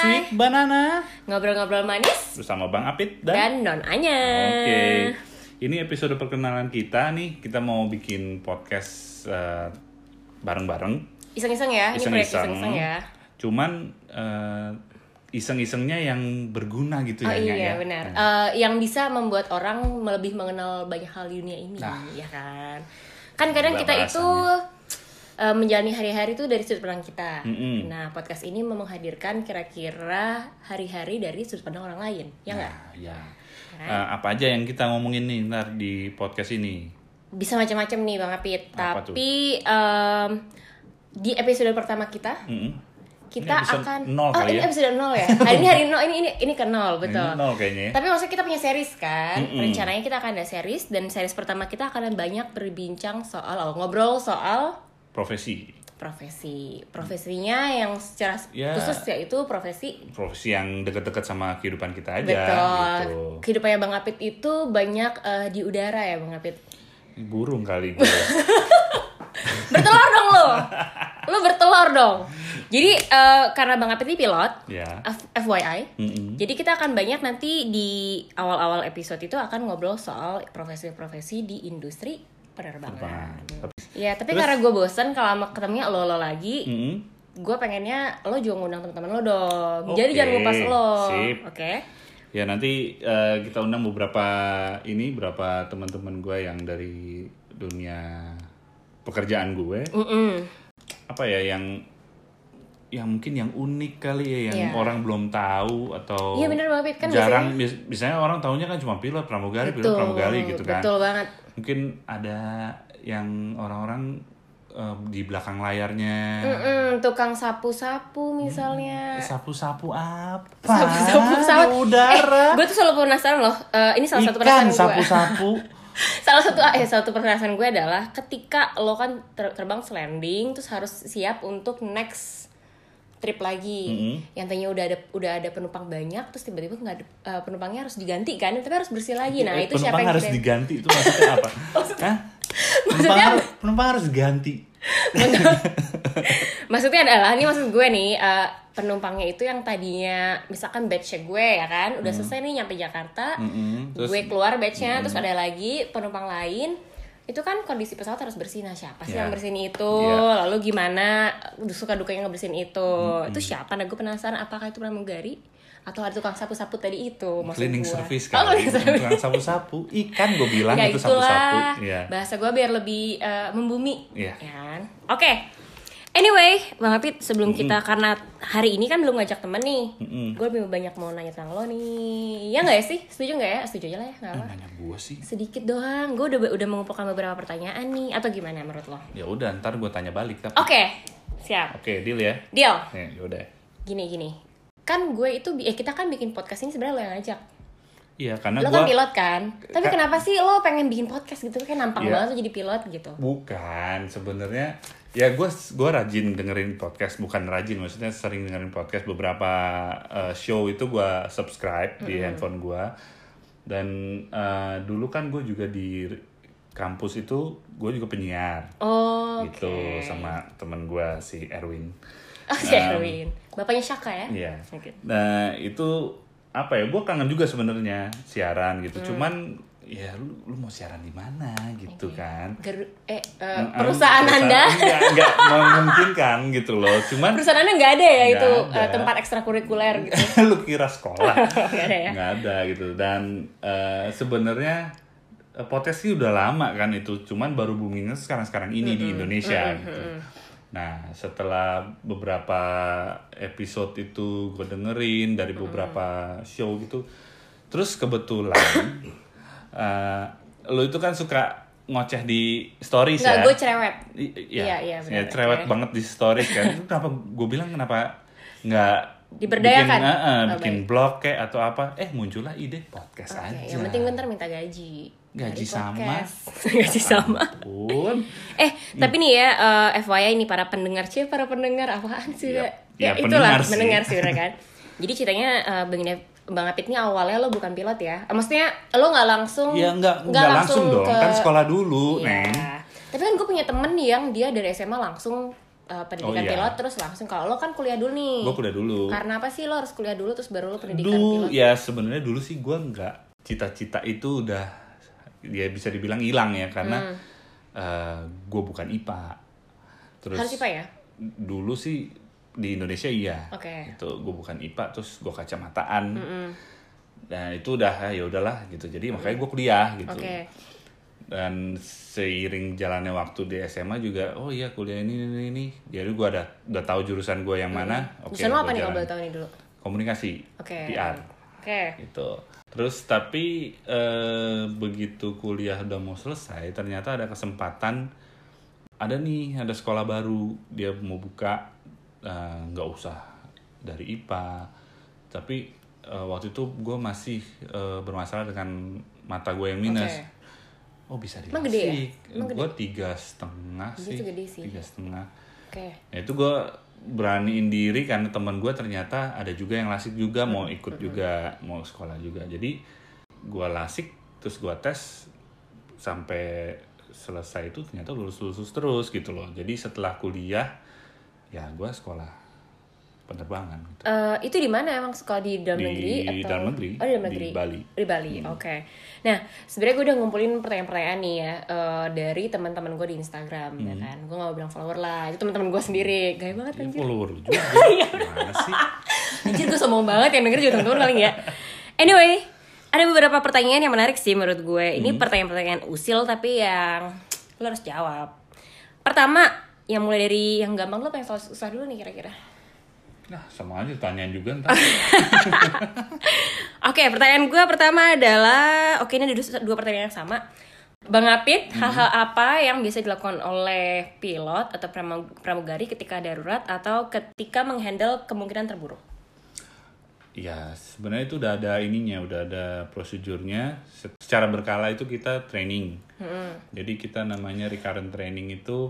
Sweet Banana Ngobrol-ngobrol manis bersama Bang Apit dan, dan non Anya. Oke. Ini episode perkenalan kita nih. Kita mau bikin podcast eh, bareng-bareng. Iseng-iseng ya, ini proyek iseng-iseng ya. Cuman eh, iseng-isengnya yang berguna gitu Oh ya. Nya, iya ya. benar. Nah, Eh, yang bisa membuat orang lebih mengenal banyak hal di dunia ini, ya kan. Kan kadang Gila kita itu bahasannya. eh, menjalani hari-hari itu dari sudut pandang kita. Mm-mm. Nah, podcast ini mau menghadirkan kira-kira hari-hari dari sudut pandang orang lain, ya nggak? nah, ya. Eh, apa aja yang kita ngomongin nih ntar di podcast ini? Bisa macam-macam nih Bang Apit, Apa tuh? tapi em, di episode pertama kita Mm-mm. Ini kita episode akan nol oh kali ini ya? episode nol ya hari ini hari nol ini ini ini ke nol betul Ini nol kayaknya. ya. tapi maksudnya kita punya series kan Mm-mm. rencananya kita akan ada series dan series pertama kita akan banyak berbincang soal oh, ngobrol soal Profesi, profesi profesinya yang secara Ya. khusus yaitu profesi profesi yang dekat-dekat sama kehidupan kita aja. betul Gitu. kehidupannya bang Apit itu banyak eh, di udara ya bang Apit Burung kali gue. bertelur dong lo lo bertelur dong jadi eh, karena bang Apit ini pilot ya. F- FYI Mm-mm. Jadi kita akan banyak nanti di awal-awal episode itu akan ngobrol soal profesi-profesi di industri Apaan? penerbangan. Nah, Tapi- Iya, tapi Terus- Mm. karena gue bosen kalau sama ketemunya lo lo lagi, Mm-mm. gue pengennya lo juga ngundang teman-teman lo dong. Jadi Oke, jangan lupa lo, sip. oke? Ya nanti eh, kita undang beberapa ini beberapa teman-teman gue yang dari dunia pekerjaan gue Mm-mm. apa ya yang yang mungkin yang unik kali ya yang Iya. orang belum tahu atau Iya, bener banget, kan jarang biasanya, biasanya orang tahunya kan cuma pilot pramugari pilot pramugari gitu kan betul banget. mungkin ada yang orang-orang eh, di belakang layarnya Mm-mm, tukang sapu-sapu Mm. misalnya. sapu-sapu apa Sapu-sapu pesawat. di udara Eh, gue tuh selalu penasaran loh. Eh, ini salah satu ikan penasaran gue. sapu-sapu salah satu eh satu perasaan gue adalah ketika lo kan ter- terbang landing terus harus siap untuk next trip lagi Mm-hmm. yang tadinya udah ada udah ada penumpang banyak terus tiba-tiba nggak ada eh, penumpangnya harus diganti kan tapi harus bersih lagi nah Eh, itu penumpang siapa yang harus kita- diganti itu maksudnya apa? Hah? Penumpang, Maksudnya- harus, penumpang harus ganti. maksudnya adalah ini maksud gue nih eh, penumpangnya itu yang tadinya misalkan batch gue ya kan udah selesai nih nyampe Jakarta Mm-mm, Hmm. terus- Hmm. gue keluar batchnya terus ada lagi penumpang lain itu kan kondisi pesawat harus bersih nah siapa sih Ya. yang bersihin itu Ya. Hmm, lalu gimana suka dukanya ngebersihin itu itu siapa nah gue penasaran apakah itu pramugari atau ada tukang sapu-sapu tadi itu maksud Cleaning gue. service Oh, kali. cleaning service. Bukan sapu-sapu. Ikan gue bilang Ya itu sapu-sapu. itulah Iya. bahasa gue biar lebih eh, membumi, Iya. ya kan? Oke, anyway, bang Apit sebelum kita karena hari ini kan belum ngajak temen nih, Mm-mm. gue lebih banyak mau nanya tentang lo nih, ya nggak ya sih? Setuju nggak ya? Setuju aja lah ya, nggak apa. Nanya gue sih. Sedikit doang, gue udah udah mengumpulkan beberapa pertanyaan nih, atau gimana menurut lo? Oke, Ya udah, ntar gue tanya balik. Oh. Tapi... siap, Oke, deal ya. deal. Nih, yaudah. Gini gini, kan gue itu bi- eh kita kan bikin podcast ini sebenarnya lo yang ngajak. Iya, karena Lo gue kan pilot kan, tapi Ka- kenapa sih lo pengen bikin podcast gitu? Kayak nampang Iya. banget lo jadi pilot gitu. bukan sebenarnya. Ya gue gua rajin dengerin podcast, bukan rajin maksudnya sering dengerin podcast beberapa eh, show itu gue subscribe di handphone gue dan eh, dulu kan gue juga di kampus itu gue juga penyiar. Oh, oke. gitu sama temen gue si Erwin. Oh, si Erwin. Bapaknya Syaka ya? Um, Iya. Oke. Nah itu apa ya? Gue kangen juga sebenarnya siaran Mm. gitu. Cuman ya lu, lu mau siaran di mana gitu kan? Garu- eh, eh, Nah, perusahaan perusahaan- Anda. Enggak, enggak memungkinkan gitu loh. Cuman Perusahaan Anda nggak ada ya Nggak itu ada. eh, tempat ekstrakurikuler gitu. lu kira sekolah? Nggak ada ya. Nggak ada gitu. Dan eh, sebenarnya eh, podcast sih udah lama kan itu. Cuman baru boomingnya sekarang-sekarang ini di Indonesia gitu. Nah, setelah beberapa episode itu gue dengerin dari beberapa show gitu, terus kebetulan eh, lo itu kan suka ngoceh di stories Nggak, ya? gue cerewet. I- Iya, Iya, iya, ya, benar. cerewet Oke. banget di stories kan. Itu kenapa gue bilang kenapa nggak Diberdayakan? bikin, eh, eh, Oh, bikin baik. blog kayak atau apa? Eh muncullah ide podcast Oke, aja. yang penting gue ntar minta gaji. Gaji Dari sama. podcast. Gaji sama. Pun, Eh, tapi Hmm. nih ya, eh, FYI nih para pendengar sih, para pendengar apaan sih? Yap. Ya, Ya, itulah pendengar sih. pendengar sih bener kan. Jadi ceritanya eh, Bang Ine- Bang Apit nih awalnya lo bukan pilot ya? Eh, Maksudnya lo nggak langsung ya nggak nggak langsung, dong. ke- Kan sekolah dulu, Iya. neng. Tapi kan gue punya temen yang dia dari SMA langsung eh, pendidikan iya. pilot terus langsung kalau lo kan kuliah dulu nih. Gue kuliah dulu. Karena apa sih lo harus kuliah dulu terus baru lo pendidikan Dulu pilot? ya sebenarnya dulu sih gue nggak cita-cita itu udah ya bisa dibilang hilang ya Hmm. karena gue bukan IPA. Terus Harus IPA ya? dulu sih di Indonesia iya. Oke. Itu gue bukan IPA terus gue kacamataan. Dan itu udah ya udahlah gitu. Jadi makanya gue kuliah gitu. Oke. Dan seiring jalannya waktu di SMA juga oh iya kuliah ini ini ini. Jadi gue ada udah tahu jurusan gue yang mana. Oke. Jurusan lo gua apa nih kalau jalan. boleh tahu nih dulu? Komunikasi. Oke. PR Oke. gitu. Terus tapi eh, begitu kuliah udah mau selesai, ternyata ada kesempatan ada nih ada sekolah baru dia mau buka eh, nggak usah dari IPA, tapi eh, waktu itu gue masih eh, bermasalah dengan mata gue yang minus. Oke. Oh bisa di Emang gede ya? Emang gede? Gue tiga setengah Dia sih. tuh gede sih. Tiga setengah. Oke. Nah, itu gue beraniin diri karena teman gue ternyata ada juga yang lasik juga mau ikut juga mau sekolah juga jadi gue lasik terus gue tes sampai selesai itu ternyata lulus lulus terus gitu loh jadi setelah kuliah ya gue sekolah penerbangan gitu. Eh, itu di mana emang sekolah di dalam Di negeri atau dalam negeri, oh di dalam di negeri Bali. Hmm. di Bali oke nah sebenarnya gue udah ngumpulin pertanyaan-pertanyaan nih ya eh, dari teman-teman gue di Instagram ya Hmm. kan gue gak mau bilang follower lah itu teman-teman gue sendiri gaya banget kan Ini anjir follower lu Iya, juga gimana sih anjir gue sombong banget yang denger juga teman-teman paling ya anyway ada beberapa pertanyaan yang menarik sih menurut gue ini pertanyaan-pertanyaan usil tapi yang lo harus jawab pertama yang mulai dari yang gampang lo pengen susah dulu nih kira-kira nah sama aja tanyain juga ntar Oke, pertanyaan gue pertama adalah, oke ini ada dus- dua pertanyaan yang sama. Bang Apit, hal-hal apa yang bisa dilakukan oleh pilot atau pramug- pramugari ketika darurat atau ketika menghandle kemungkinan terburuk? Ya, sebenarnya itu udah ada ininya, udah ada prosedurnya. Se- Secara berkala itu kita training. Jadi kita namanya recurrent training itu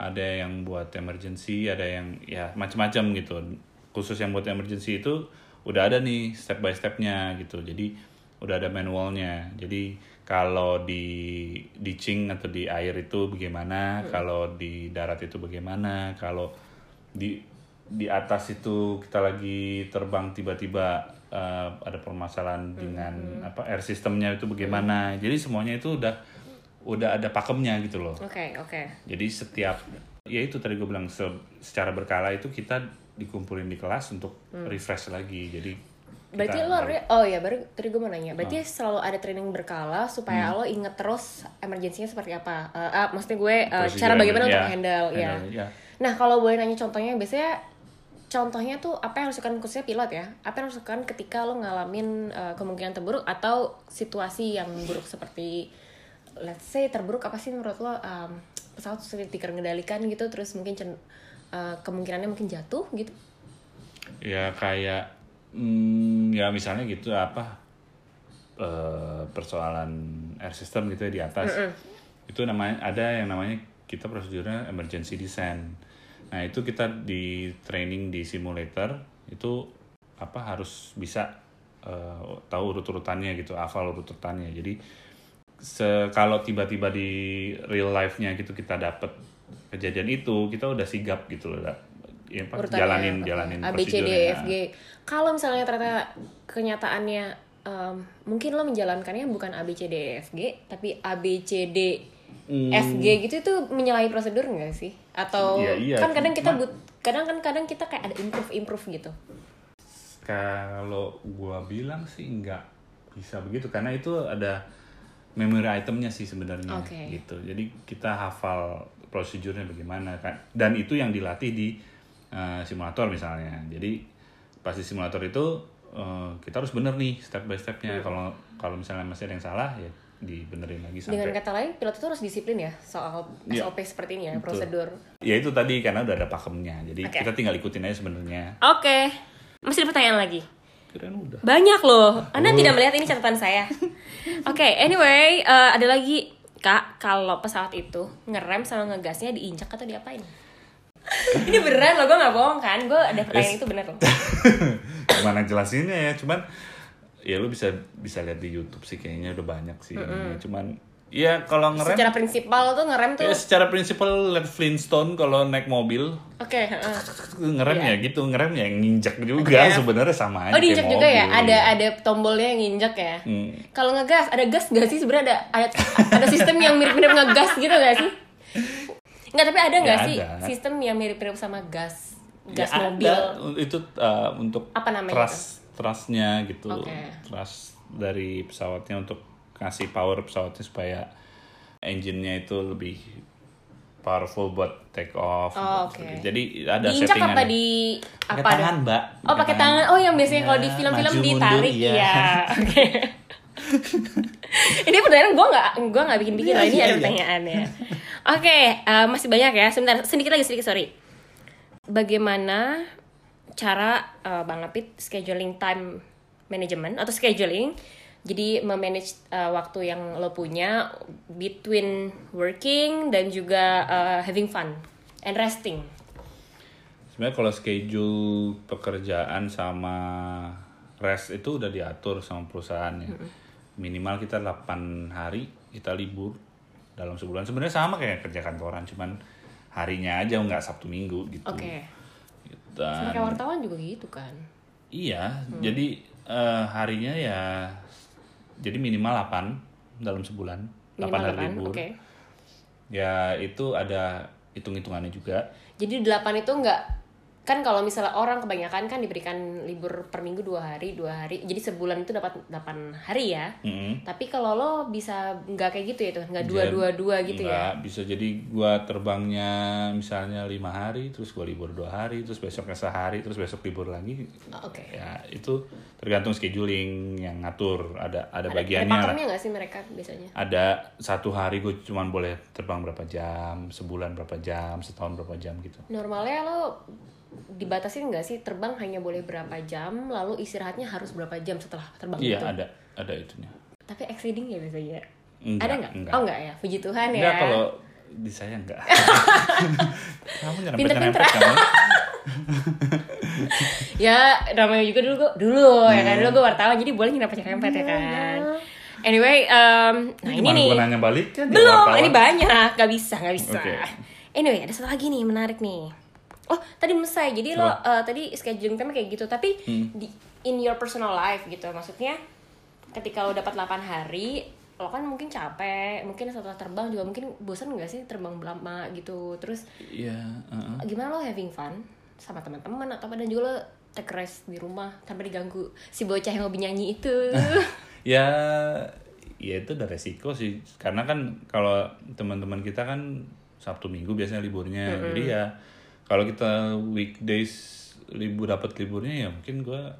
ada yang buat emergency, ada yang ya macam-macam gitu. Khusus yang buat emergency itu udah ada nih step by stepnya gitu. Jadi udah ada manualnya. Jadi kalau di ditching atau di air itu bagaimana, kalau di darat itu bagaimana, kalau di di atas itu kita lagi terbang tiba-tiba eh, ada permasalahan dengan Mm-hmm. apa air sistemnya itu bagaimana jadi semuanya itu udah udah ada pakemnya gitu loh Oke, oke. jadi setiap ya itu tadi gue bilang se- secara berkala itu kita dikumpulin di kelas untuk refresh lagi jadi kita Mm. Hmm. Berarti lo, re- oh ya baru tadi gue mau nanya, berarti selalu ada training berkala supaya lo inget terus emergensinya seperti apa? Eh, ah, maksudnya gue eh, harus cara juga- bagaimana ya, untuk handle, ya. handle, ya. Nah, kalau boleh nanya contohnya, biasanya contohnya tuh apa yang harus dilakukan khususnya pilot ya? Apa yang harus dilakukan ketika lo ngalamin uh, kemungkinan terburuk atau situasi yang buruk seperti let's say terburuk apa sih menurut lo um, pesawat sulit dikendalikan gitu terus mungkin cen- uh, kemungkinannya mungkin jatuh gitu? ya kayak hmm, ya misalnya gitu apa eh, persoalan air system gitu ya di atas itu namanya ada yang namanya kita prosedurnya emergency descent nah itu kita di training di simulator itu apa harus bisa eh, tahu urut urutannya gitu hafal urut urutannya jadi se kalau tiba-tiba di real life-nya gitu kita dapet kejadian itu kita udah sigap gitu loh da- ya, apa, Urutannya, jalanin uh, jalanin A B C D E prosedurnya. ya. F G. Kalau misalnya ternyata kenyataannya um, mungkin lo menjalankannya bukan A B C D E F G tapi A B C D F G gitu itu menyalahi prosedur nggak sih? Atau Iya, iya. kan kadang kita Cuma- but kadang kan kadang kita kayak ada improve improve gitu. Kalau gua bilang sih nggak bisa begitu karena itu ada memory itemnya sih sebenarnya Oke. gitu. Jadi kita hafal prosedurnya bagaimana kan dan itu yang dilatih di eh, simulator misalnya. Jadi pas di simulator itu eh, kita harus bener nih step by Iya. stepnya. Kalau kalau misalnya masih ada yang salah ya dibenerin lagi Dengan sampai kata lain pilot itu harus disiplin ya soal Iya. SOP seperti ini ya Betul. prosedur. ya itu tadi karena udah ada pakemnya. Jadi Oke. kita tinggal ikutin aja sebenarnya. Oke, masih ada pertanyaan lagi? Keren udah. Banyak loh. Anda Oh. tidak melihat ini catatan saya. Oke, anyway, eh, ada lagi Kak, kalau pesawat itu ngerem sama ngegasnya diinjak atau diapain? ini beneran loh, gue gak bohong kan? Gue ada pertanyaan Yes. itu bener loh. gimana jelasinnya ya cuman ya lu bisa bisa lihat di YouTube sih kayaknya udah banyak sih ilmunya. cuman Iya, kalau ngerem Secara prinsipal tuh ngerem tuh. ya, Oke, secara prinsipal lihat Flintstone kalau naik mobil heeh. ngerem ya gitu, ngerem ya nginjak juga Iya. sebenarnya sama aja. Oh, diinjak kayak juga ya? mobil. Ada ada tombolnya yang injak ya? Hmm. Kalau ngegas, ada gas gak sih sebenarnya ada, ada ada sistem yang mirip-mirip ngegas gitu gak sih? Enggak, tapi ada nggak Ya, sih ada. sistem yang mirip-mirip sama gas? Gas Ya, mobil. ada. itu uh, untuk Apa namanya trust trustnya gitu Oke. trust dari pesawatnya untuk kasih power pesawatnya supaya engine-nya itu lebih powerful buat take off Oh, gitu. oke. jadi ada diinjak settingan apa di pakai apa ada? tangan mbak Oh, pakai tangan. Oh, yang biasanya kalau di Ya, film-film maju ditarik mundur, iya. ya. Oke. ini pertanyaan gue nggak gue nggak bikin bikin Iya, loh ini iya, ada iya. pertanyaannya. Oke, eh, masih banyak ya. Sebentar, sedikit lagi sedikit sorry. Bagaimana cara eh, bang Apit scheduling time management atau scheduling? Jadi memanage eh, waktu yang lo punya between working dan juga eh, having fun and resting. sebenarnya kalau schedule pekerjaan sama rest itu udah diatur sama perusahaannya minimal kita 8 hari kita libur dalam sebulan sebenarnya sama kayak kerja kantoran cuman harinya aja nggak sabtu minggu gitu Oke. Dan- Sama kayak wartawan juga gitu kan. iya Mm. jadi eh, harinya ya jadi minimal 8 dalam sebulan 8 Minimal hari delapan, libur Oke. ya itu ada hitung-hitungannya juga Jadi delapan itu enggak kan kalau misalnya orang kebanyakan kan diberikan libur per minggu dua hari dua hari jadi sebulan itu dapat delapan hari ya Mm-mm. tapi kalau lo bisa nggak kayak gitu ya tuh nggak dua Jadi, dua dua gitu ya Nggak, bisa jadi gua terbangnya misalnya lima hari terus gua libur dua hari terus besoknya sehari terus besok libur lagi Oh, oke ya itu tergantung scheduling yang ngatur ada ada, ada, ada bagiannya lah. pakemnya nggak sih mereka biasanya ada satu hari gue cuman boleh terbang berapa jam sebulan berapa jam setahun berapa jam gitu normalnya lo dibatasin nggak sih terbang hanya boleh berapa jam lalu istirahatnya harus berapa jam setelah terbang iya itu ada ada itunya tapi exceeding ya biasanya Enggak, ada nggak enggak. oh nggak ya puji tuhan enggak ya kalau di saya enggak kamu nyerempet Pinter-pinter. nyerempet Nah, kamu ya namanya juga dulu gua dulu ya kan dulu gue wartawan jadi boleh nyerempet nyerempet ya kan anyway um, nah ini Gimana nih gua nanya balik kan dia belum wartawan. ini banyak gak bisa gak bisa Oke. anyway ada satu lagi nih menarik nih oh tadi belum selesai jadi lo Apa? Hmm. eh, tadi scheduling time kayak gitu tapi di in your personal life gitu maksudnya ketika lo dapat 8 hari lo kan mungkin capek mungkin setelah terbang juga mungkin bosan gak sih terbang lama gitu terus iya heeh. gimana lo having fun sama teman-teman atau dan juga lo take rest di rumah tanpa diganggu si bocah yang hobi nyanyi itu ya ya itu udah resiko sih karena kan kalau teman-teman kita kan sabtu minggu biasanya liburnya jadi ya kalau kita weekdays libur dapat liburnya ya mungkin gua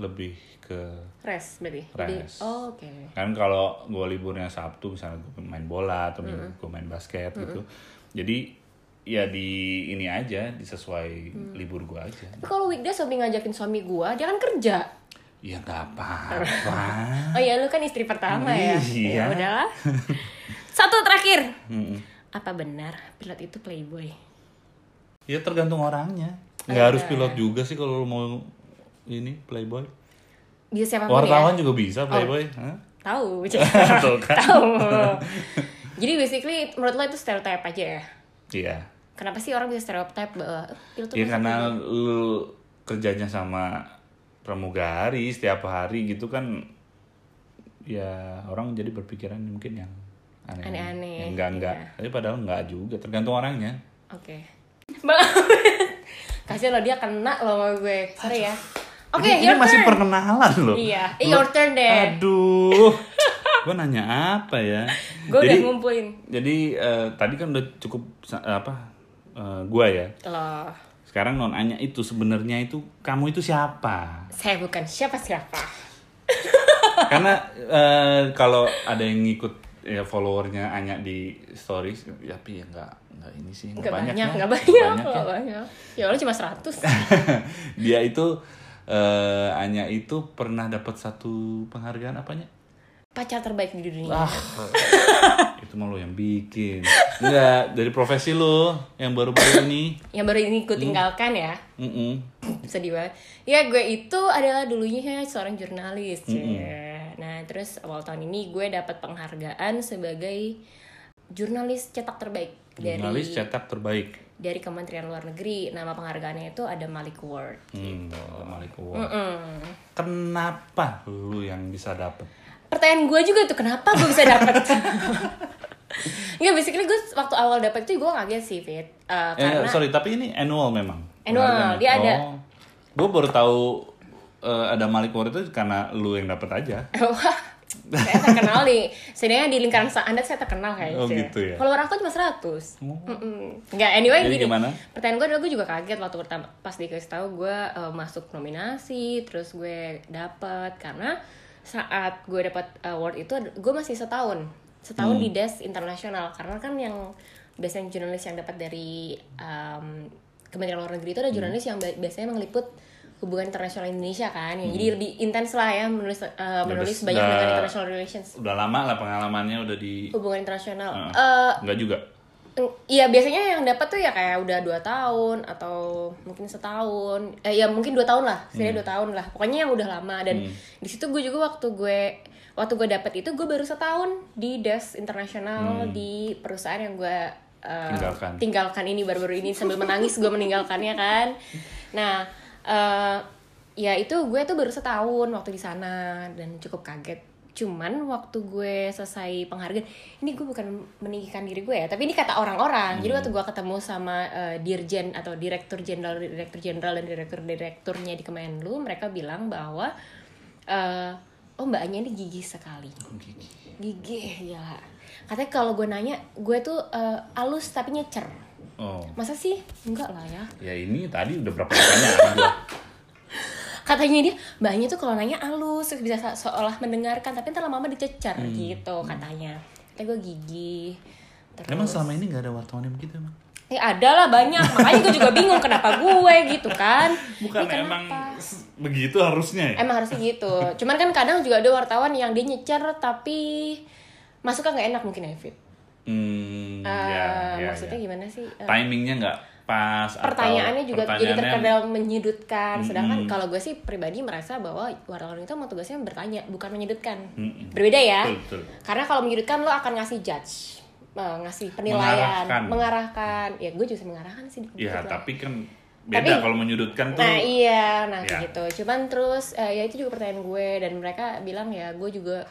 lebih ke rest berarti Rest. oh, oke kan kalau gua liburnya sabtu misalnya gue main bola atau minggu gua main basket gitu jadi ya di ini aja disesuai libur gua aja tapi kalau weekdays hobi ngajakin suami gua dia kan kerja ya nggak apa-apa oh ya lu kan istri pertama ya Ah. Iya. ya udahlah satu terakhir apa benar pilot itu playboy Ya tergantung orangnya. Nggak harus Iya. pilot juga sih kalau lu mau ini playboy. bisa siapa ya Wartawan juga bisa Oh. playboy. Hah? tahu Tuh kan. tahu jadi basically menurut lo itu stereotype aja ya Iya. kenapa sih orang bisa stereotype bahwa "Eh, pilot tuh Ya pasti karena lu kerjanya sama pramugari setiap hari gitu kan ya orang jadi berpikiran mungkin yang aneh. Aneh-aneh, Yang enggak enggak. iya. Tapi padahal enggak juga, tergantung orangnya. Oke. Bang Abed. Kasihan lo dia kena lo sama gue. Sorry ya. Oke, Ini- ini your masih turn. perkenalan loh. Iya, eh, Lu- your turn deh. Aduh. gua nanya apa ya? Gue udah Jadi- ngumpulin Jadi eh, tadi kan udah cukup sa- apa eh, gua ya. lo. Sekarang non Anya itu sebenarnya itu kamu itu siapa? Saya bukan siapa-siapa. Karena eh, kalau ada yang ngikut ya followernya Anya di stories, ya, tapi ya nggak nggak ini sih nggak Gak banyak, banyak, ya. gak banyak, Nggak gak ya. banyak. Ya Allah cuma 100. Dia itu eh, Anya itu pernah dapat satu penghargaan apanya? Pacar terbaik di dunia. Ah, itu mah lo yang bikin. Enggak, dari profesi lo yang baru-baru ini. Yang baru ini Hmm. gue tinggalkan ya. Mm-mm. Hmm, Sedih banget. Ya gue itu adalah dulunya seorang jurnalis. ya. Nah terus awal tahun ini gue dapat penghargaan sebagai jurnalis cetak terbaik Jurnalis dari cetak terbaik. dari Kementerian Luar Negeri. Nama penghargaannya itu ada Malik Award. Hmm, Malik Award. Kenapa lu yang bisa dapet? Pertanyaan gue juga tuh kenapa gue bisa dapat? Enggak, basically gue waktu awal dapat itu gue kaget sih, Fit. Eh, Eh, karena sorry, tapi ini annual memang. Penghargaan. Annual, dia ada. Oh, gue baru tahu eh, ada Malik Award itu karena lu yang dapet aja. Wah, saya terkenal di setidaknya di lingkaran sa- anda saya terkenal kayaknya Oh, gitu ya. Oh. follower aku cuma 100 Mm-mm. nggak anyway Jadi gini gimana? pertanyaan gue adalah gue juga kaget waktu pertama pas dikasih tahu gue eh, masuk nominasi terus gue dapet karena saat gue dapat award itu ad- gue masih setahun Hmm. setahun di desk internasional karena kan yang biasanya jurnalis yang dapat dari em, Kementerian Luar Negeri itu Hmm. ada jurnalis yang bi- biasanya meliput hubungan internasional Indonesia kan, Ya, Hmm. jadi lebih intens lah ya menulis eh, menulis banyak udah- dengan international relations Udah lama lah pengalamannya udah di... hubungan internasional. Heeh. Eh, Enggak juga. Eng- Iya biasanya yang dapat tuh ya kayak udah dua tahun atau mungkin setahun, eh, ya mungkin dua tahun lah, Hmm. setidaknya dua tahun lah. Pokoknya yang udah lama dan di situ gue juga waktu gue waktu gue dapat itu gue baru setahun di desk internasional di perusahaan yang gue eh, Hmm. Tinggalkan. tinggalkan ini baru-baru ini sambil menangis gue meninggalkannya kan. Nah eh, ya itu gue tuh baru setahun waktu di sana dan cukup kaget cuman waktu gue selesai penghargaan ini gue bukan meninggikan diri gue ya tapi ini kata orang-orang jadi waktu gue ketemu sama eh, dirjen atau direktur jenderal direktur jenderal dan direktur direkturnya di Kemenlu mereka bilang bahwa eh, oh mbak Anya ini gigih sekali gigih ya katanya kalau gue nanya gue tuh eh, alus tapi nyecer Oh. masa sih enggak lah ya Ya ini tadi udah berapa pertanyaan gua. katanya dia mbaknya tuh kalau nanya halus terus bisa se- seolah mendengarkan tapi ntar lama-lama dicecer Hmm. gitu katanya kata gue gigi terus Emang selama ini gak ada wartawan yang begitu emang? ya ada lah banyak makanya gue juga bingung kenapa gue gitu kan Bukan Ini kenapa? emang s- begitu harusnya ya? emang harusnya gitu cuman kan kadang juga ada wartawan yang dia nyecer tapi masuknya nggak enak mungkin ya Fit Hmm, Eh, ya, ya, maksudnya ya. gimana sih Eh, Timingnya nggak pas atau pertanyaannya juga jadi pertanyaannya- terkadang menyudutkan sedangkan kalau gue sih pribadi merasa bahwa wartawan itu emang tugasnya bertanya bukan menyudutkan Mm-mm. berbeda ya Betul, betul. karena kalau menyudutkan lo akan ngasih judge eh, ngasih penilaian Mengarahkan. mengarahkan, ya gue juga mengarahkan sih di Ya, kebetulan. tapi kan beda gitu. Tapi- kalau menyudutkan tuh. Nah iya, nah kayak Ya. gitu. Cuman terus eh, ya itu juga pertanyaan gue dan mereka bilang ya gue juga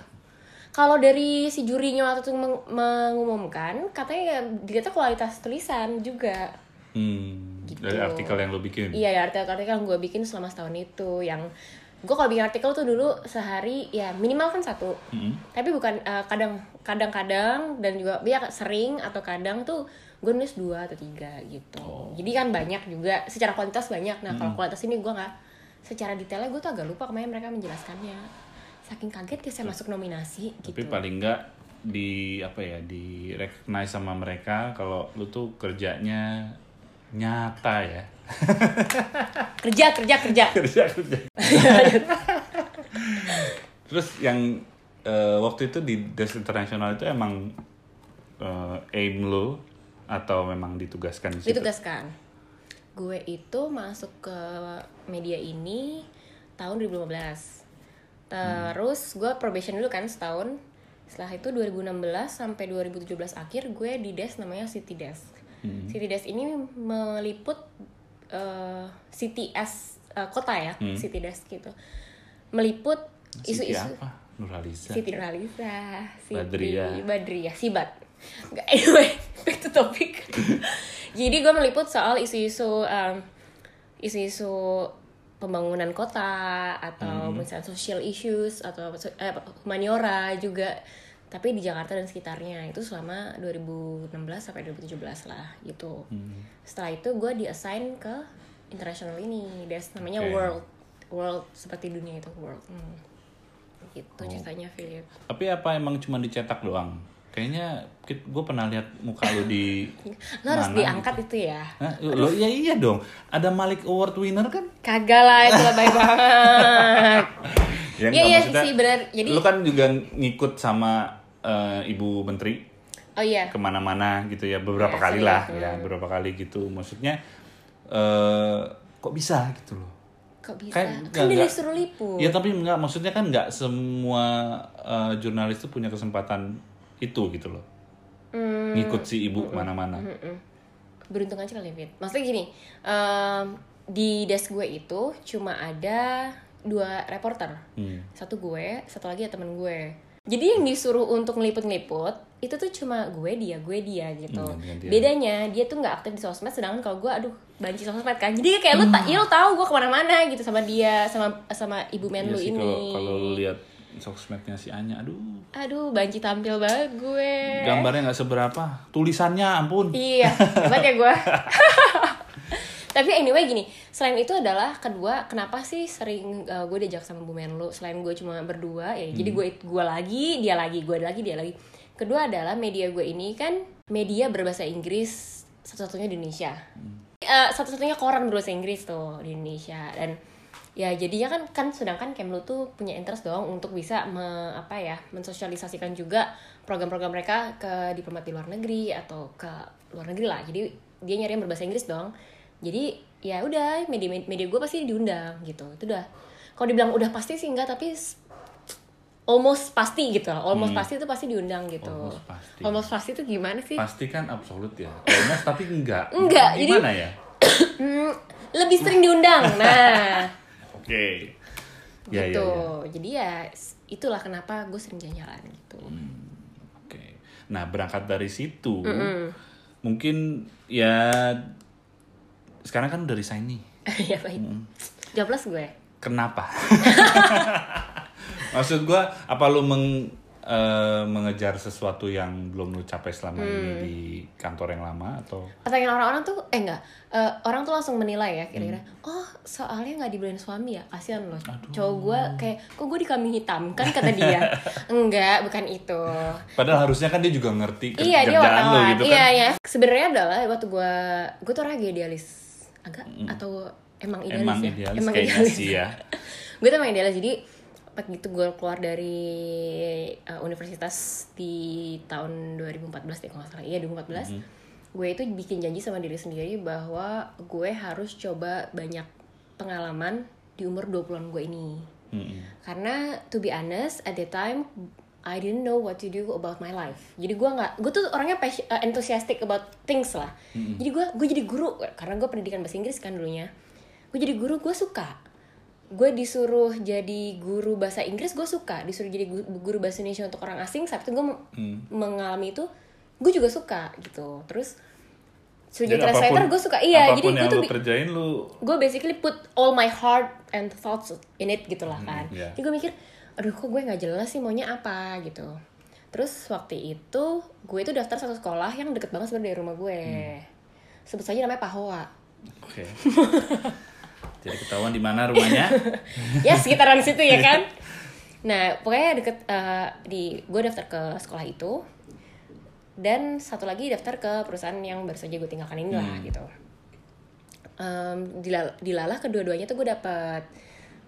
kalau dari si jurinya waktu itu meng- mengumumkan katanya ya dilihatnya kualitas tulisan juga. Hmm, dari Gitu. artikel yang lo bikin. Iya ya artikel-artikel yang gue bikin selama setahun itu yang gue kalau bikin artikel tuh dulu sehari ya minimal kan satu Mm-mm. tapi bukan eh, kadang kadang-kadang dan juga ya sering atau kadang tuh gue nulis dua atau tiga gitu jadi kan banyak juga secara kualitas banyak nah kalau kualitas ini gue nggak secara detailnya gue tuh agak lupa kemarin mereka menjelaskannya saking kaget ya saya masuk nominasi Tapi gitu paling nggak di apa ya di recognize sama mereka kalau lu tuh kerjanya nyata ya kerja kerja kerja kerja kerja terus yang eh, waktu itu di desk internasional itu emang eh, aim lo atau memang ditugaskan di situ ditugaskan Gitu, gue itu masuk ke media ini tahun 2015 terus gue probation dulu kan setahun setelah itu 2016 sampai 2017 akhir gue di desk namanya city desk Hmm. city desk ini meliput eh, CTS eh, kota ya Hmm. city desk gitu meliput Siti isu-isu apa Nuraliza Siti Nurhaliza, Siti Badriah. Badriah, ya, Sibat. Nggak, Anyway, back to topic. Jadi gue meliput soal isu-isu um, isu-isu pembangunan kota atau Hmm. misalnya social issues atau so- eh, humaniora juga tapi di Jakarta dan sekitarnya itu selama 2016 sampai 2017 lah gitu. Hmm. Setelah itu gue diassign ke internasional ini, des namanya Oke. World, World seperti dunia itu World. Hmm. Gitu Oh. ceritanya Philip. tapi apa emang cuma dicetak doang kayaknya gue pernah lihat muka lo di Lo harus mana diangkat itu ya. Hah? Lo iya iya dong. Ada Malik Award winner kan? Kagak lah itu lebay banget. Yang Iya, iya, sih, benar. Jadi- lu kan juga ngikut sama eh, ibu menteri Oh iya. kemana-mana gitu ya beberapa Ya, kali sering. lah ya beberapa kali gitu. Maksudnya eh kok bisa gitu loh? Kok bisa? Kayak Kan, nggak- dia nggak- disuruh liput. Ya tapi nggak maksudnya kan nggak semua eh, jurnalis tuh punya kesempatan itu gitu loh. Hmm. Ngikut si ibu kemana-mana. Mm-mm. Beruntung aja kali Fit. Maksudnya gini, em, di desk gue itu cuma ada dua reporter. Hmm. Satu gue, satu lagi ya temen gue. Jadi yang disuruh untuk ngeliput-ngeliput itu tuh cuma gue dia, gue dia gitu. Hmm, gantian. Bedanya dia tuh nggak aktif di sosmed, sedangkan kalau gue aduh banci sosmed kan. Jadi kayak lu Hmm. tak, ya lu tahu gue kemana-mana gitu sama dia, sama sama ibu Iya men lu sih ini. kalau kalau lu lihat sosmednya si Anya, aduh Aduh banci tampil banget gue. gambarnya nggak seberapa, tulisannya ampun. Iya, hebat ya gue. Tapi anyway gini, selain itu adalah kedua, kenapa sih sering uh, gue diajak sama Bu Menlu? Selain gue cuma berdua, ya jadi gue gue lagi, dia lagi, gue lagi, dia lagi. Kedua adalah media gue ini kan media berbahasa Inggris satu-satunya di Indonesia. Eh, satu-satunya koran berbahasa Inggris tuh di Indonesia dan ya jadinya kan kan sedangkan Kemlu tuh punya interest dong untuk bisa me- apa ya mensosialisasikan juga program-program mereka ke diplomat di luar negeri atau ke luar negeri lah jadi dia nyari yang berbahasa Inggris dong jadi ya udah media media gue pasti diundang gitu itu udah kalau dibilang udah pasti sih enggak tapi s- almost pasti gitu lah. almost pasti itu pasti diundang gitu Hmm. Almost pasti. almost pasti itu gimana sih Pasti kan absolut ya. Almost tapi enggak. Enggak, jadi- Gimana ya? Hmm, lebih sering diundang nah Oke. gitu Ya, ya, ya. jadi ya s- itulah kenapa gue sering jalan-jalan gitu Oke. Nah, berangkat dari situ mungkin ya sekarang kan udah resign nih. ya baik Hmm. jobless gue Kenapa? Maksud gua apa lu meng- eh, mengejar sesuatu yang belum lu capai selama ini Hmm. di kantor yang lama atau pertanyaan orang-orang tuh eh enggak Eh, orang tuh langsung menilai ya kira-kira Hmm. oh soalnya nggak dibeliin suami ya kasihan loh cowok gue kayak kok gue dikambing hitam kan kata dia enggak bukan itu padahal harusnya kan dia juga ngerti iya kerjaan dia lu wartawan gitu kan. iya ya sebenarnya adalah waktu gue gue tuh orangnya idealis agak atau emang idealis Hmm. Emang ya idealis kayaknya sih ya. gue tuh emang idealis jadi begitu gue keluar dari uh, universitas di tahun 2014 deh kalau nggak salah iya 2014 gue itu bikin janji sama diri sendiri bahwa gue harus coba banyak pengalaman di umur 20-an gue ini Mm-mm. karena to be honest at the time I didn't know what to do about my life jadi gue nggak gue tuh orangnya passion, uh, enthusiastic about things lah jadi gue gue jadi guru karena gue pendidikan bahasa Inggris kan dulunya gue jadi guru gue suka gue disuruh jadi guru bahasa Inggris gue suka disuruh jadi gu- guru bahasa Indonesia untuk orang asing saat itu gue mem- Hmm. mengalami itu gue juga suka gitu terus suruh Jadi jadi translator apapun- gue suka iya apapun jadi gue yang tuh lu bi- kerjain lu gue basically put all my heart and thoughts in it gitu lah kan. Hmm, yeah. Jadi gue mikir, aduh kok gue nggak jelas sih maunya apa gitu. Terus waktu itu gue itu daftar satu sekolah yang deket banget sebenarnya dari rumah gue. Sebut saja namanya Pahoa. Oke. Jadi ketahuan di mana rumahnya? ya sekitaran situ ya kan. Nah pokoknya deket eh, di gue daftar ke sekolah itu dan satu lagi daftar ke perusahaan yang baru saja gue tinggalkan ini lah gitu. Em, dilal- dilalah kedua-duanya tuh gue dapet.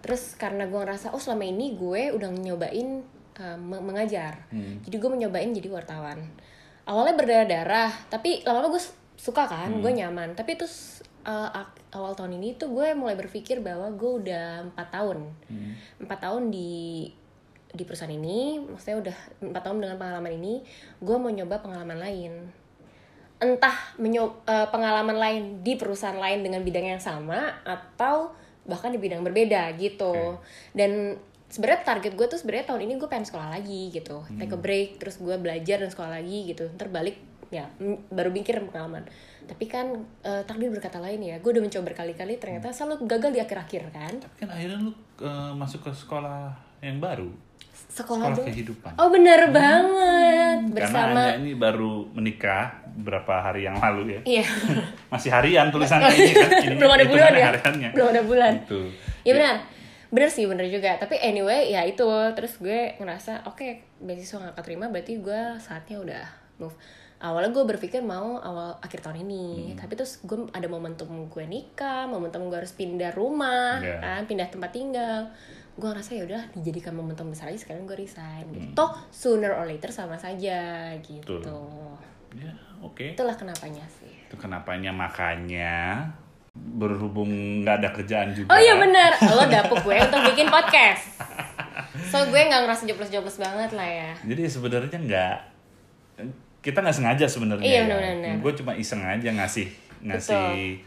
Terus karena gue ngerasa oh selama ini gue udah nyobain eh, me- mengajar, jadi gue mencobain jadi wartawan. Awalnya berdarah-darah, tapi lama-lama gue s- suka kan, gue nyaman. Tapi terus eh, ak- awal tahun ini tuh gue mulai berpikir bahwa gue udah empat tahun, empat tahun di di perusahaan ini, maksudnya udah empat tahun dengan pengalaman ini, gue mau nyoba pengalaman lain entah menyo- eh, pengalaman lain di perusahaan lain dengan bidang yang sama atau bahkan di bidang berbeda gitu dan sebenarnya target gue tuh sebenarnya tahun ini gue pengen sekolah lagi gitu take Hmm. a break terus gue belajar dan sekolah lagi gitu ntar balik ya mm, baru mikir pengalaman tapi kan eh, takdir berkata lain ya gue udah mencoba berkali-kali ternyata selalu gagal di akhir-akhir kan Tapi kan akhirnya lu eh, masuk ke sekolah yang baru. sekolah, Sekolah dong. kehidupan. oh bener banget Karena bersama Anda ini baru menikah berapa hari yang lalu ya. iya Masih harian tulisannya ini kan. Ini belum ada bulan hitungannya ya Hariannya. belum ada bulan Gitu. ya benar benar sih benar juga tapi anyway ya itu terus gue ngerasa oke beasiswa nggak keterima berarti gue saatnya udah move awalnya gue berpikir mau awal akhir tahun ini tapi terus gue ada momentum gue nikah momentum gue harus pindah rumah Iya. kan pindah tempat tinggal gue ngerasa ya udah dijadikan momentum besar aja sekarang gue resign gitu toh sooner or later sama saja gitu Betul. Ya, oke. itulah kenapanya sih Itu kenapanya makanya berhubung nggak ada kerjaan juga. Oh iya bener, lo dapet gue untuk bikin podcast. So gue nggak ngerasa jobless-jobless banget lah ya. Jadi sebenarnya nggak kita nggak sengaja sebenarnya. Iya, ya. benar-benar. Gue cuma iseng aja ngasih ngasih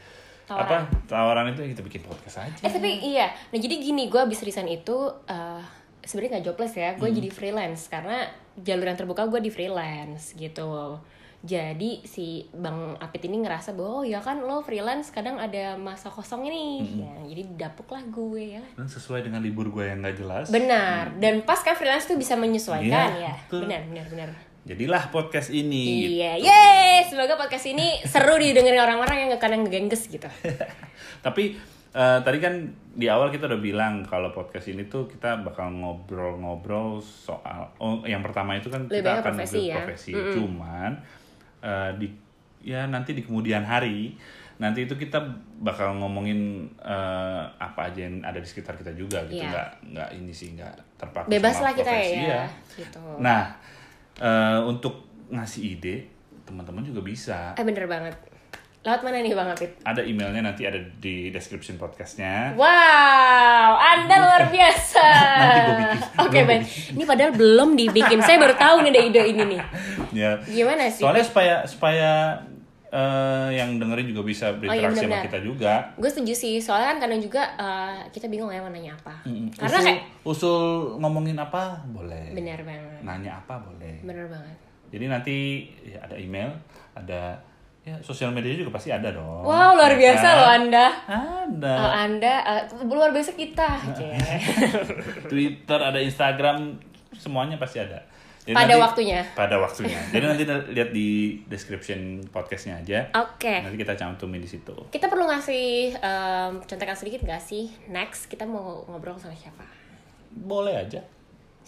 Tawaran. apa tawaran itu ya kita bikin podcast aja. Eh tapi iya, nah jadi gini gue abis resign itu eh sebenarnya nggak jobless ya, Hmm. gue jadi freelance karena jalur yang terbuka gue di freelance gitu. Jadi si Bang Apit ini ngerasa bahwa oh ya kan lo freelance kadang ada masa kosong nih, Hmm. ya, jadi dapuk lah gue ya. Dan Kan sesuai dengan libur gue yang nggak jelas. Benar, dan pas kan freelance tuh bisa menyesuaikan Hmm. Iya, ya. betul. Benar, benar, benar. Jadilah podcast ini. gitu. Iya, yeay, semoga podcast ini seru didengerin orang-orang yang gak kadang ngegengges gitu. Tapi eh, tadi kan di awal kita udah bilang kalau podcast ini tuh kita bakal ngobrol-ngobrol soal oh yang pertama itu kan kita Lebih banyak akan profesi ngobrol ya. profesi. Cuman eh, di ya nanti di kemudian hari nanti itu kita bakal ngomongin eh, apa aja yang ada di sekitar kita juga gitu Iya. nggak nggak ini sih nggak terpaku Bebas sama lah kita ya, profesi, ya. iya. Gitu. Nah, eh, untuk ngasih ide, teman-teman juga bisa. Eh bener banget. Lewat mana nih Bang Apit? Ada emailnya nanti ada di description podcastnya. Wow, Anda luar biasa. Nanti gua bikin. Oke, Belum baik. Ini padahal belum dibikin. Saya baru tahu nih ada ide ini nih. Ya. Gimana sih? Soalnya supaya supaya eh, yang dengerin juga Oh, bisa berinteraksi sama benar-benar. kita juga. Gue setuju sih. Soalnya kan kadang juga eh, kita bingung ya mau nanya apa. Mm-mm. Karena usul, kayak usul ngomongin apa boleh. bener banget. Nanya apa boleh. Bener banget. Jadi nanti ya, ada email, ada ya sosial media juga pasti ada dong. Wow, luar Ya biasa kan? loh Anda. Ada. Oh, Anda eh, luar biasa kita. Oke. Twitter, ada Instagram, semuanya pasti ada. Jadi Pada waktunya. Pada waktunya. Jadi nanti lihat di description podcastnya aja. Oke. Nanti kita cantumin di situ. Kita perlu ngasih em, contekan sedikit gak sih? Next kita mau ngobrol sama siapa? Boleh aja.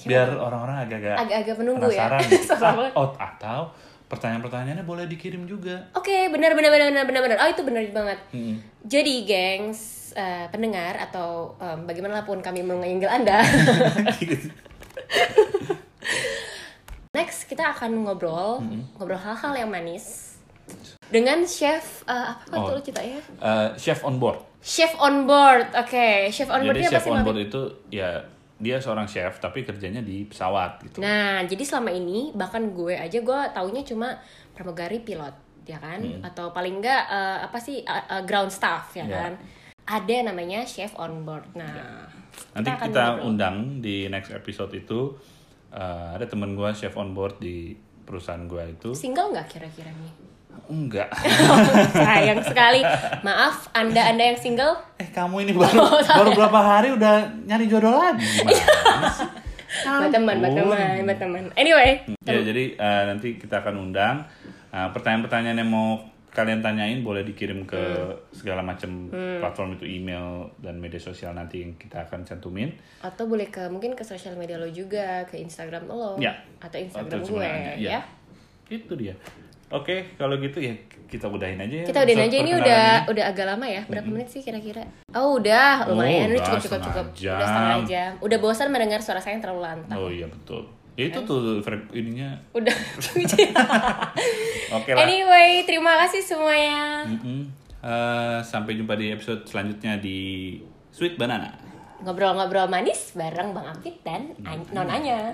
Biar orang-orang agak-agak Agak-agak menunggu ya. penasaran. Ah, Sama banget. oh, atau pertanyaan-pertanyaannya boleh dikirim juga. Oke, benar benar benar benar benar benar. Oh, itu benar banget. Jadi, gengs, eh, pendengar atau em, bagaimanapun kami menyenggol Anda. Eh, Next, kita akan ngobrol, ngobrol hal-hal yang manis dengan chef eh, apa kan Oh. tuh kita ya? Eh, chef on board. Chef on board. Oke, chef on board Jadi ini apa chef sih? on Mami? board itu ya dia seorang chef tapi kerjanya di pesawat gitu. Nah, jadi selama ini bahkan gue aja gue taunya cuma pramugari pilot, ya kan? Atau paling enggak eh, apa sih eh, eh, ground staff, ya Hmm. Ya. kan? Ada namanya chef on board. Nah, Nanti akan kita, ngobrol. undang di next episode itu eh, ada temen gua chef on board di perusahaan gua itu. single nggak kira-kira nih? Enggak. Sayang sekali. Maaf, anda anda yang single. Eh kamu ini Oh, baru baru berapa hari udah nyari jodoh lagi gimana sih? Buat Iya. teman, buat Ampun. teman, buat teman. Anyway, Ya jadi eh, nanti kita akan undang Eh, pertanyaan-pertanyaan yang mau kalian tanyain boleh dikirim ke Hmm. segala macam platform itu email dan media sosial nanti yang kita akan cantumin. atau boleh ke mungkin ke sosial media lo juga, ke Instagram lo, Ya. Oh, atau Instagram Atau gue, sebenarnya, ya. Itu dia. Oke, kalau gitu ya kita udahin aja ya. Kita udahin episode aja ini perkenalan udah ini. udah agak lama ya. Berapa menit sih kira-kira? Oh, udah lumayan. Oh, ini udah cukup cukup cukup. setengah Udah setengah jam. jam. Udah bosan mendengar suara saya yang terlalu lantang. Oh iya betul. Ya itu tuh frame ininya. Udah. Oke lah. anyway, terima kasih semuanya. Mm-mm. Eh, sampai jumpa di episode selanjutnya di Sweet Banana. Ngobrol-ngobrol manis bareng Bang Apit dan An- Non Anya.